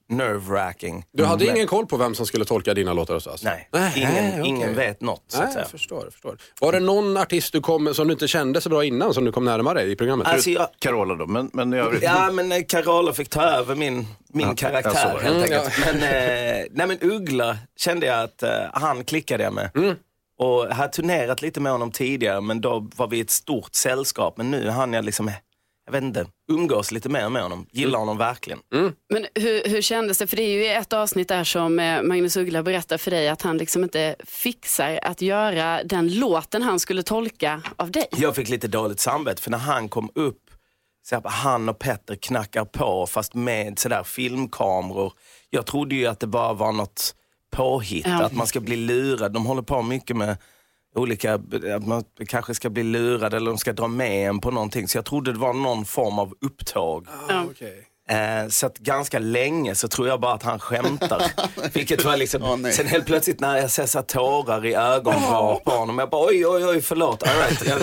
[SPEAKER 8] nerve-wracking.
[SPEAKER 2] Du hade
[SPEAKER 8] Mm, Men-
[SPEAKER 2] ingen koll på vem som skulle tolka dina låtar hos oss?
[SPEAKER 8] Nej, ingen,
[SPEAKER 2] okej.
[SPEAKER 8] ingen vet något så att
[SPEAKER 2] Nej,
[SPEAKER 8] säga.
[SPEAKER 2] jag förstår, jag förstår. Var det någon artist du kom, som du inte kände så bra innan som du kom närmare i programmet?
[SPEAKER 8] Alltså, jag-
[SPEAKER 3] Carola då, men, men i övrigt.
[SPEAKER 8] Ja, men eh, Carola fick ta över min, min
[SPEAKER 3] Ja,
[SPEAKER 8] karaktär
[SPEAKER 3] jag såg
[SPEAKER 8] helt
[SPEAKER 3] det.
[SPEAKER 8] enkelt.
[SPEAKER 3] Mm, ja.
[SPEAKER 8] Men, eh, nej, men Uggla kände jag att eh, han klickade jag med.
[SPEAKER 3] Mm.
[SPEAKER 8] Och jag hade turnerat lite med honom tidigare, men då var vi ett stort sällskap. Men nu hann jag liksom, jag vet inte, umgås lite mer med honom.
[SPEAKER 3] Mm.
[SPEAKER 8] Gillar honom verkligen.
[SPEAKER 4] Men hur, hur kändes det? För det är ju ett avsnitt där som eh, Magnus Uggla berättar för dig att han liksom inte fixar att göra den låten han skulle tolka av dig.
[SPEAKER 8] Jag fick lite dåligt samvete för när han kom upp, så här, han och Petter knackar på fast med sådär filmkameror. Jag trodde ju att det bara var något påhitt,
[SPEAKER 4] Ja.
[SPEAKER 8] att man ska bli lurad. De håller på mycket med olika, att man kanske ska bli lurad eller de ska dra med en på någonting. Så jag trodde det var någon form av upptåg.
[SPEAKER 2] Ah,
[SPEAKER 4] Ja.
[SPEAKER 8] Eh, så att ganska länge så tror jag bara att han skämtar. Vilket var liksom, sen helt plötsligt när jag ser så här tårar i ögonvrån på honom, jag bara oj, oj, oj, förlåt. All right. jag,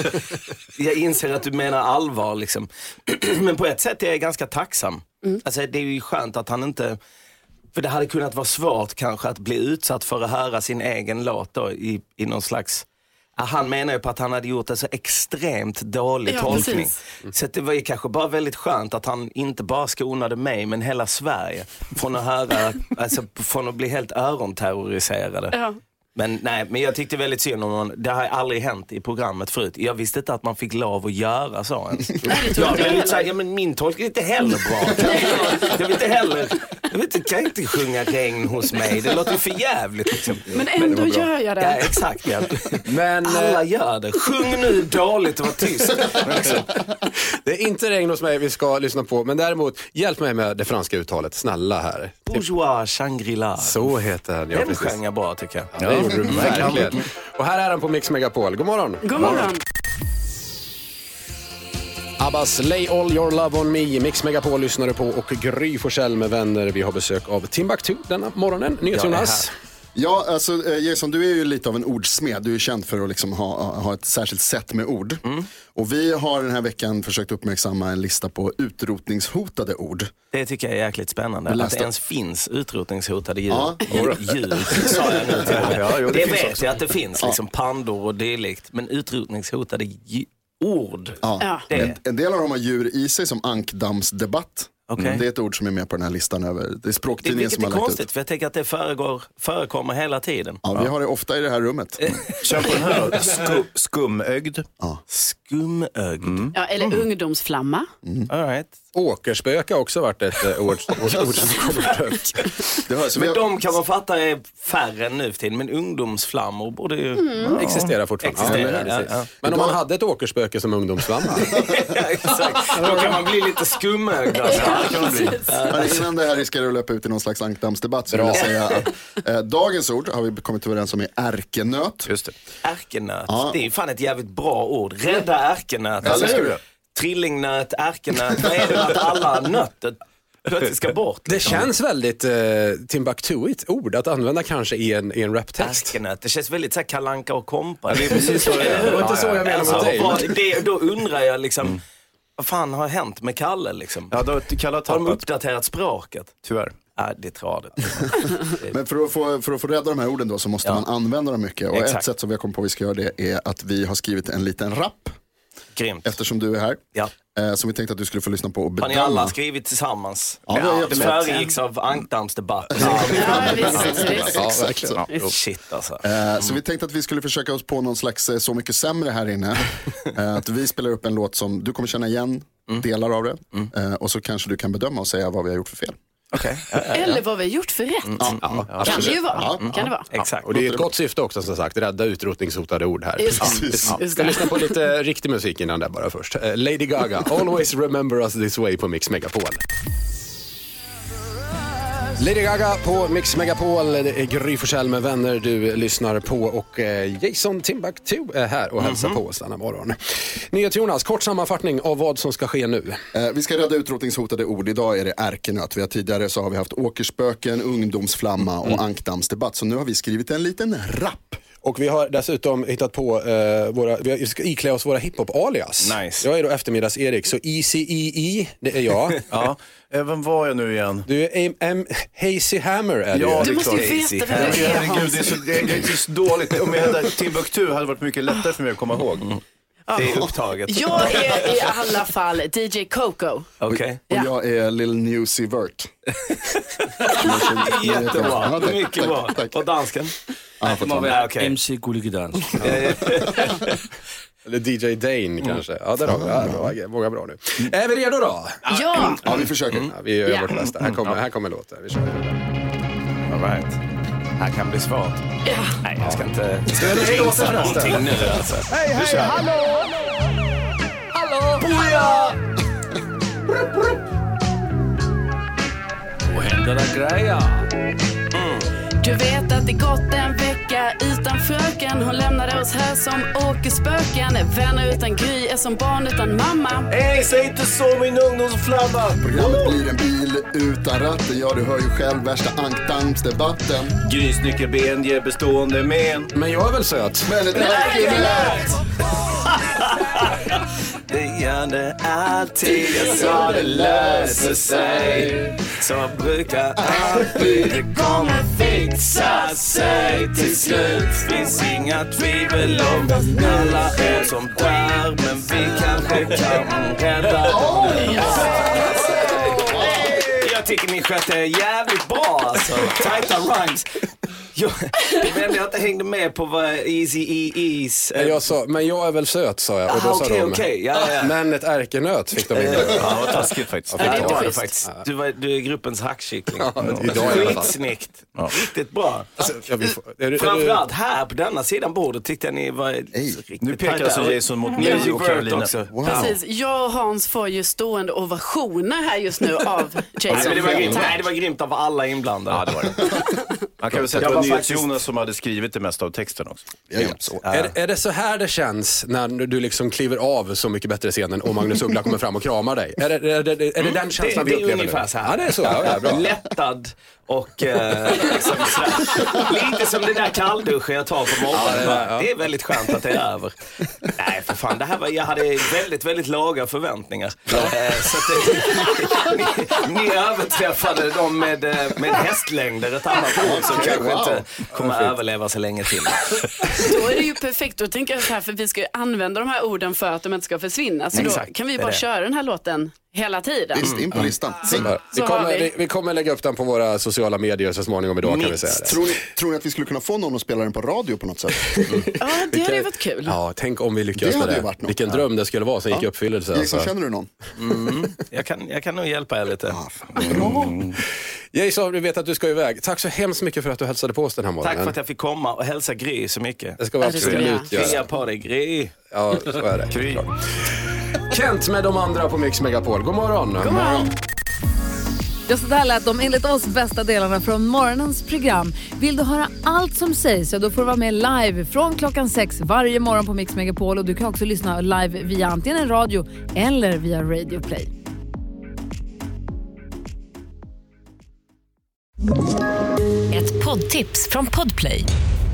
[SPEAKER 8] jag inser att du menar allvar liksom. Men på ett sätt är jag ganska tacksam.
[SPEAKER 4] Mm.
[SPEAKER 8] Alltså, det är ju skönt att han inte, för det hade kunnat vara svårt kanske att bli utsatt för att höra sin egen låt då i, i någon slags Ja, han menar ju på att han hade gjort en så extremt dålig
[SPEAKER 4] Ja,
[SPEAKER 8] tolkning.
[SPEAKER 4] precis.
[SPEAKER 8] Mm. Så att det var ju kanske bara väldigt skönt att han inte bara skonade mig men hela Sverige från att höra, alltså från att bli helt öronterroriserade.
[SPEAKER 4] Ja.
[SPEAKER 8] Men nej, men jag tyckte väldigt synd om honom. Det har aldrig hänt i programmet förut. Jag visste inte att man fick lov att göra så ens.
[SPEAKER 4] tror
[SPEAKER 8] jag
[SPEAKER 4] inte jag
[SPEAKER 8] blev lite
[SPEAKER 4] heller.
[SPEAKER 8] såhär, ja men min tolk är inte heller bra. Kan jag- Jag vill inte heller, jag vet inte, kan jag inte sjunga regn hos mig? Det låter ju för jävligt liksom.
[SPEAKER 4] Men ändå gör jag det.
[SPEAKER 8] Ja, exakt. Ja.
[SPEAKER 2] Men eh,
[SPEAKER 8] Alla gör det. Sjung nu dåligt och var tyst. Liksom.
[SPEAKER 2] det är inte regn hos mig vi ska lyssna på. Men däremot, hjälp mig med det franska uttalet, snälla här.
[SPEAKER 8] Bourgeois Shangri-La.
[SPEAKER 2] Så heter han, ja
[SPEAKER 8] Den
[SPEAKER 2] precis.
[SPEAKER 8] sjöng jag bra tycker jag.
[SPEAKER 2] Ja, det gjorde du verkligen. Och här är han på Mix Megapol. God morgon.
[SPEAKER 4] God morgon.
[SPEAKER 2] Abbas Lay All Your Love On Me. Mix Megapol lyssnar du på och Gry Forssell med vänner. Vi har besök av Timbuktu denna morgonen. Nyhets-Jonas.
[SPEAKER 5] Ja, alltså eh, Jason, du är ju lite av en ordsmed. Du är känd för att liksom ha, ha ett särskilt sätt med ord.
[SPEAKER 2] Mm.
[SPEAKER 5] Och vi har den här veckan försökt uppmärksamma en lista på utrotningshotade ord.
[SPEAKER 8] Det tycker jag är jäkligt spännande.
[SPEAKER 5] Vi
[SPEAKER 8] Att
[SPEAKER 5] läste-
[SPEAKER 8] det ens finns utrotningshotade djur.
[SPEAKER 5] Ja.
[SPEAKER 8] Djur, djur, sa jag nu till och med.
[SPEAKER 3] Ja, jo, det
[SPEAKER 8] Det
[SPEAKER 3] finns
[SPEAKER 8] vet
[SPEAKER 3] också.
[SPEAKER 8] jag att det finns, liksom pandor och dylikt. Men utrotningshotade dju- ord.
[SPEAKER 4] Ja.
[SPEAKER 8] Det-
[SPEAKER 5] En, en del av dem har djur i sig som ankdammsdebatt. Mm,
[SPEAKER 8] Okej.
[SPEAKER 5] Det är ett ord som är med på den här listan över, det är
[SPEAKER 8] Det,
[SPEAKER 5] språktidningen
[SPEAKER 8] vilket
[SPEAKER 5] som
[SPEAKER 8] är
[SPEAKER 5] har lagt
[SPEAKER 8] konstigt,
[SPEAKER 5] ut.
[SPEAKER 8] för jag tänker att det föregår, förekommer hela tiden. Eh,
[SPEAKER 5] Ja, vi har det ofta i det här rummet.
[SPEAKER 3] Kör på den här då. Sku, skumögd.
[SPEAKER 5] Ja.
[SPEAKER 8] Skumögd.
[SPEAKER 4] Ja, eller ungdomsflamma.
[SPEAKER 8] All right.
[SPEAKER 2] Åkerspöka har också varit ett eh, ord, ord, ord som kommer upp.
[SPEAKER 5] Det hörs.
[SPEAKER 8] Men de kan man fatta är färre nu för tiden, men ungdomsflammor borde ju...
[SPEAKER 2] Ja. Existerar fortfarande.
[SPEAKER 8] Existerar,
[SPEAKER 2] Ja,
[SPEAKER 8] ja,
[SPEAKER 2] precis.
[SPEAKER 8] ja.
[SPEAKER 2] Men om man hade ett åkerspöke som ungdomsflamma?
[SPEAKER 8] Ja, exakt. Då kan man bli lite skumögd. alltså.
[SPEAKER 5] Hörni, innan det här riskerar att löpa ut i någon slags ankdammsdebatt så vill
[SPEAKER 2] Bra.
[SPEAKER 5] jag säga att eh, dagens ord har vi kommit överens om är ärkenöt.
[SPEAKER 3] Just det.
[SPEAKER 8] Ärkenöt,
[SPEAKER 5] Ja.
[SPEAKER 8] det är fan ett jävligt bra ord. Rädda ärkenöt.
[SPEAKER 5] Ja, eller hur?
[SPEAKER 8] Trillingnöt, ärkenöt, vad är det med att alla nötter plötsligt ska bort? liksom.
[SPEAKER 2] Det känns väldigt eh, Timbuktuigt ord att använda kanske i en, i en raptext.
[SPEAKER 8] Ärkenöt, det känns väldigt så här Kalle Anka och kompani.
[SPEAKER 3] det är precis så det är.
[SPEAKER 8] Eller hur?
[SPEAKER 2] Det var inte så jag menade
[SPEAKER 8] Alltså,
[SPEAKER 2] med dig,
[SPEAKER 8] vad- det, Då undrar jag liksom, vad fan har hänt med Kalle liksom?
[SPEAKER 3] Ja, då har Kalle
[SPEAKER 8] Har de
[SPEAKER 3] tappat,
[SPEAKER 8] uppdaterat språket?
[SPEAKER 3] tyvärr.
[SPEAKER 8] Ja, det är tradigt.
[SPEAKER 5] Men för att, få, för att få rädda de här orden då så måste man använda dem mycket. Och ett
[SPEAKER 8] Exakt.
[SPEAKER 5] sätt som vi har kommit på att vi ska göra det är att vi har skrivit en liten rap
[SPEAKER 8] Grymt.
[SPEAKER 5] eftersom du är här.
[SPEAKER 8] Ja.
[SPEAKER 5] Eh, som vi tänkte att du skulle få lyssna på och
[SPEAKER 8] Har ni
[SPEAKER 5] bedöma.
[SPEAKER 8] alla skrivit tillsammans?
[SPEAKER 5] Ja, vi har
[SPEAKER 8] det
[SPEAKER 5] gjort det.
[SPEAKER 8] föregicks av ankdammsdebatt.
[SPEAKER 4] Ja, visst, visst.
[SPEAKER 5] Ja, verkligen.
[SPEAKER 8] Shit alltså.
[SPEAKER 5] Eh, Så vi tänkte att vi skulle försöka oss på någon slags eh, Så mycket sämre här inne. Eh, att vi spelar upp en låt som du kommer känna igen, delar av det. Eh, Och så kanske du kan bedöma och säga vad vi har gjort för fel.
[SPEAKER 4] Eller vad vi har gjort för rätt. Kan det ju vara. Kan det vara.
[SPEAKER 8] Exakt.
[SPEAKER 2] Och det är ett gott syfte också som sagt, rädda utrotningshotade ord här.
[SPEAKER 4] Just,
[SPEAKER 2] Ja.
[SPEAKER 4] just,
[SPEAKER 2] Vi
[SPEAKER 4] just
[SPEAKER 2] ska
[SPEAKER 4] det.
[SPEAKER 2] lyssna på lite riktig musik innan det bara först. Eh, Lady Gaga, Always Remember Us This Way på Mix Megapol. Lady Gaga på Mix Megapol, det är Gry Forssell med vänner du lyssnar på och eh, Jason Timbuktu är här och hälsar
[SPEAKER 4] Mhm.
[SPEAKER 2] på oss denna morgon. Jonas, kort sammanfattning av vad som ska ske nu.
[SPEAKER 5] Eh, Vi ska rädda utrotningshotade ord. Idag är det ärkenöt. Vi har tidigare så har vi haft åkerspöken, ungdomsflamma och ankdammsdebatt. Så nu har vi skrivit en liten rap.
[SPEAKER 2] Och vi har dessutom hittat på eh, våra, vi har- vi ska iklä oss våra hiphop-alias.
[SPEAKER 8] Nice.
[SPEAKER 2] Jag är då eftermiddags-Erik, så E ECEE, det är jag.
[SPEAKER 3] Ja. Eh, Vem var jag nu igen?
[SPEAKER 2] Du är M, M, Hazy Hammer är
[SPEAKER 3] Ja,
[SPEAKER 2] du
[SPEAKER 4] Du
[SPEAKER 2] ju.
[SPEAKER 4] måste ju
[SPEAKER 8] Crazy.
[SPEAKER 4] veta vem
[SPEAKER 3] Nej, men
[SPEAKER 4] det är
[SPEAKER 3] herregud,
[SPEAKER 4] Hans.
[SPEAKER 3] det är så, det är, det är så dåligt. Om jag hade Timbuktu hade det varit mycket lättare för mig att komma ihåg.
[SPEAKER 8] Det är upptaget.
[SPEAKER 4] Jag är i alla fall DJ Coco.
[SPEAKER 8] Okej.
[SPEAKER 5] Och
[SPEAKER 4] Ja.
[SPEAKER 5] jag är Lil Newsy Vert.
[SPEAKER 8] Jättebra.
[SPEAKER 5] Ja, tack,
[SPEAKER 8] Mycket
[SPEAKER 5] tack,
[SPEAKER 8] bra.
[SPEAKER 5] tack.
[SPEAKER 8] Och dansken?
[SPEAKER 5] Han får ta den.
[SPEAKER 8] Ja, okej.
[SPEAKER 9] MC Gulligidans.
[SPEAKER 2] Eller DJ Dane kanske. Ja, där har vi. Mm. Ja, bra, okej, många bra nu. Är vi redo då?
[SPEAKER 4] Ja,
[SPEAKER 5] Ja, vi försöker.
[SPEAKER 2] Ja, vi gör
[SPEAKER 4] Ja.
[SPEAKER 2] vårt bästa. Här kommer, här kommer låten. Vi kör.
[SPEAKER 8] All right. Här kan bli svårt. Nej, jag ska inte... Jag ska
[SPEAKER 2] det
[SPEAKER 8] inte
[SPEAKER 2] är låten
[SPEAKER 8] jinxa
[SPEAKER 2] förresten.
[SPEAKER 8] någonting nu alltså.
[SPEAKER 9] Och händer det grejer.
[SPEAKER 4] du vet att det gått en vecka utan fröken. Hon lämnade oss här som åkerspöken. Vänner utan Gry är som barn utan mamma.
[SPEAKER 8] Hej, säg inte så min ungdomsflamma!
[SPEAKER 5] Programmet blir en bil utan ratten. Ja, du hör ju själv värsta ankdammsdebatten.
[SPEAKER 3] Grisnyckelben ger bestående men.
[SPEAKER 2] Men jag är väl söt?
[SPEAKER 5] Men ett ärkenöt!
[SPEAKER 8] Det gör det alltid. Jag sa det löser sig. Så brukar alltid det kommer fixa sig. Till slut finns inga tvivel om alla är som dör. Men vi kanske kan rädda dem. Jag tycker ni skötte er jävligt bra alltså. Tajta rhymes. Jag, det var ändå jag inte hängde med på vad Easy E E's...
[SPEAKER 2] Men Jag sa, men jag är väl söt sa jag och då
[SPEAKER 8] Ah,
[SPEAKER 2] sa
[SPEAKER 8] okej,
[SPEAKER 2] de,
[SPEAKER 8] okej. Ja, ja.
[SPEAKER 2] men ett ärkenöt fick de in.
[SPEAKER 3] Ja, vad taskigt faktiskt.
[SPEAKER 4] Ja, det är
[SPEAKER 8] Ja, det
[SPEAKER 4] inte
[SPEAKER 8] var det
[SPEAKER 4] schysst.
[SPEAKER 8] faktiskt. Du, var, du är gruppens hackkyckling.
[SPEAKER 2] idag i alla fall.
[SPEAKER 8] Skitsnyggt. Riktigt bra.
[SPEAKER 2] Ja, vi får- är du- är du-
[SPEAKER 8] Framförallt här på denna sidan bordet tyckte jag ni var riktigt
[SPEAKER 3] Nu pekar
[SPEAKER 8] tajta.
[SPEAKER 3] alltså Jason mot mig
[SPEAKER 8] Music
[SPEAKER 3] och
[SPEAKER 8] World
[SPEAKER 3] Carolina.
[SPEAKER 8] också.
[SPEAKER 4] Precis, jag och Hans får ju stående ovationer här just nu av
[SPEAKER 8] Nej,
[SPEAKER 4] Jason.
[SPEAKER 8] men det var grymt.
[SPEAKER 4] Tack.
[SPEAKER 8] Nej, det var grymt av alla inblandade.
[SPEAKER 3] Ja, det var det. Man kan väl säga att
[SPEAKER 8] Jag
[SPEAKER 3] det
[SPEAKER 8] var
[SPEAKER 3] var
[SPEAKER 8] faktiskt-
[SPEAKER 3] NyhetsJonas som hade skrivit det mesta av texten också.
[SPEAKER 5] Jag hjälps åt.
[SPEAKER 2] Är, är det så här det känns när du liksom kliver av Så mycket bättre scenen och Magnus Uggla kommer fram och kramar dig? Är det, är det, är det den
[SPEAKER 8] Mm, Det,
[SPEAKER 2] känslan
[SPEAKER 8] det
[SPEAKER 2] vi upplever
[SPEAKER 8] är ungefär
[SPEAKER 2] nu?
[SPEAKER 8] så här.
[SPEAKER 2] Ja, det är så. Ja, ja, bra.
[SPEAKER 8] Lättad och eh, liksom så här. lite som den där kallduschen jag tar på morgonen.
[SPEAKER 2] Ja, det är det, ja.
[SPEAKER 8] Det är väldigt skönt att det är över. Nej, för fan. Det här var, jag hade väldigt, väldigt låga förväntningar. Eh, så att det, ni, ni överträffade dem med, eh, med hästlängder, ett annat ord som kanske
[SPEAKER 5] wow.
[SPEAKER 8] inte kommer överleva så länge till.
[SPEAKER 4] Då är det ju perfekt. Då tänker jag så här, för vi ska ju använda de här orden för att de inte ska försvinna. Så då
[SPEAKER 8] Exakt,
[SPEAKER 4] kan
[SPEAKER 8] det
[SPEAKER 4] vi
[SPEAKER 8] är
[SPEAKER 4] bara
[SPEAKER 8] det.
[SPEAKER 4] köra den här låten hela tiden.
[SPEAKER 5] Visst, in på listan.
[SPEAKER 2] Vi, vi,
[SPEAKER 4] Så har
[SPEAKER 2] kommer,
[SPEAKER 4] vi.
[SPEAKER 2] vi kommer lägga upp den på våra sociala medier så småningom idag kan vi säga. Det.
[SPEAKER 5] Tror ni, tror ni att vi skulle kunna få någon att spela den på radio på något sätt?
[SPEAKER 4] Ja, det hade ju varit kul.
[SPEAKER 2] Ja, tänk om vi
[SPEAKER 5] Det
[SPEAKER 2] lyckas
[SPEAKER 5] hade
[SPEAKER 2] med
[SPEAKER 5] ju
[SPEAKER 2] det.
[SPEAKER 5] varit något.
[SPEAKER 2] Vilken dröm det skulle vara som gick i
[SPEAKER 5] Ja.
[SPEAKER 2] uppfyllelse. alltså.
[SPEAKER 5] Jason, känner du någon?
[SPEAKER 8] Mm. Jag, kan, jag kan nog hjälpa er lite.
[SPEAKER 2] Ah, Jason, vi vet att du ska iväg. Tack så hemskt mycket för att du hälsade på oss den här morgonen.
[SPEAKER 8] Tack för att jag Alltså, fick komma och hälsa Gry så mycket.
[SPEAKER 2] Det ska vi Ja, det ska vi absolut göra. göra.
[SPEAKER 8] Krya på dig Gry.
[SPEAKER 2] Ja, så är det.
[SPEAKER 8] Kry.
[SPEAKER 2] Kent med de andra på Mix Megapol. God morgon. God
[SPEAKER 1] morgon. Ja, så där lät de enligt oss bästa delarna från morgonens program. Vill du höra allt som sägs så då får du vara med live från klockan sex varje morgon på Mix Megapol och du kan också lyssna live via antingen en radio eller via Radio Play.
[SPEAKER 10] Ett poddtips från Podplay.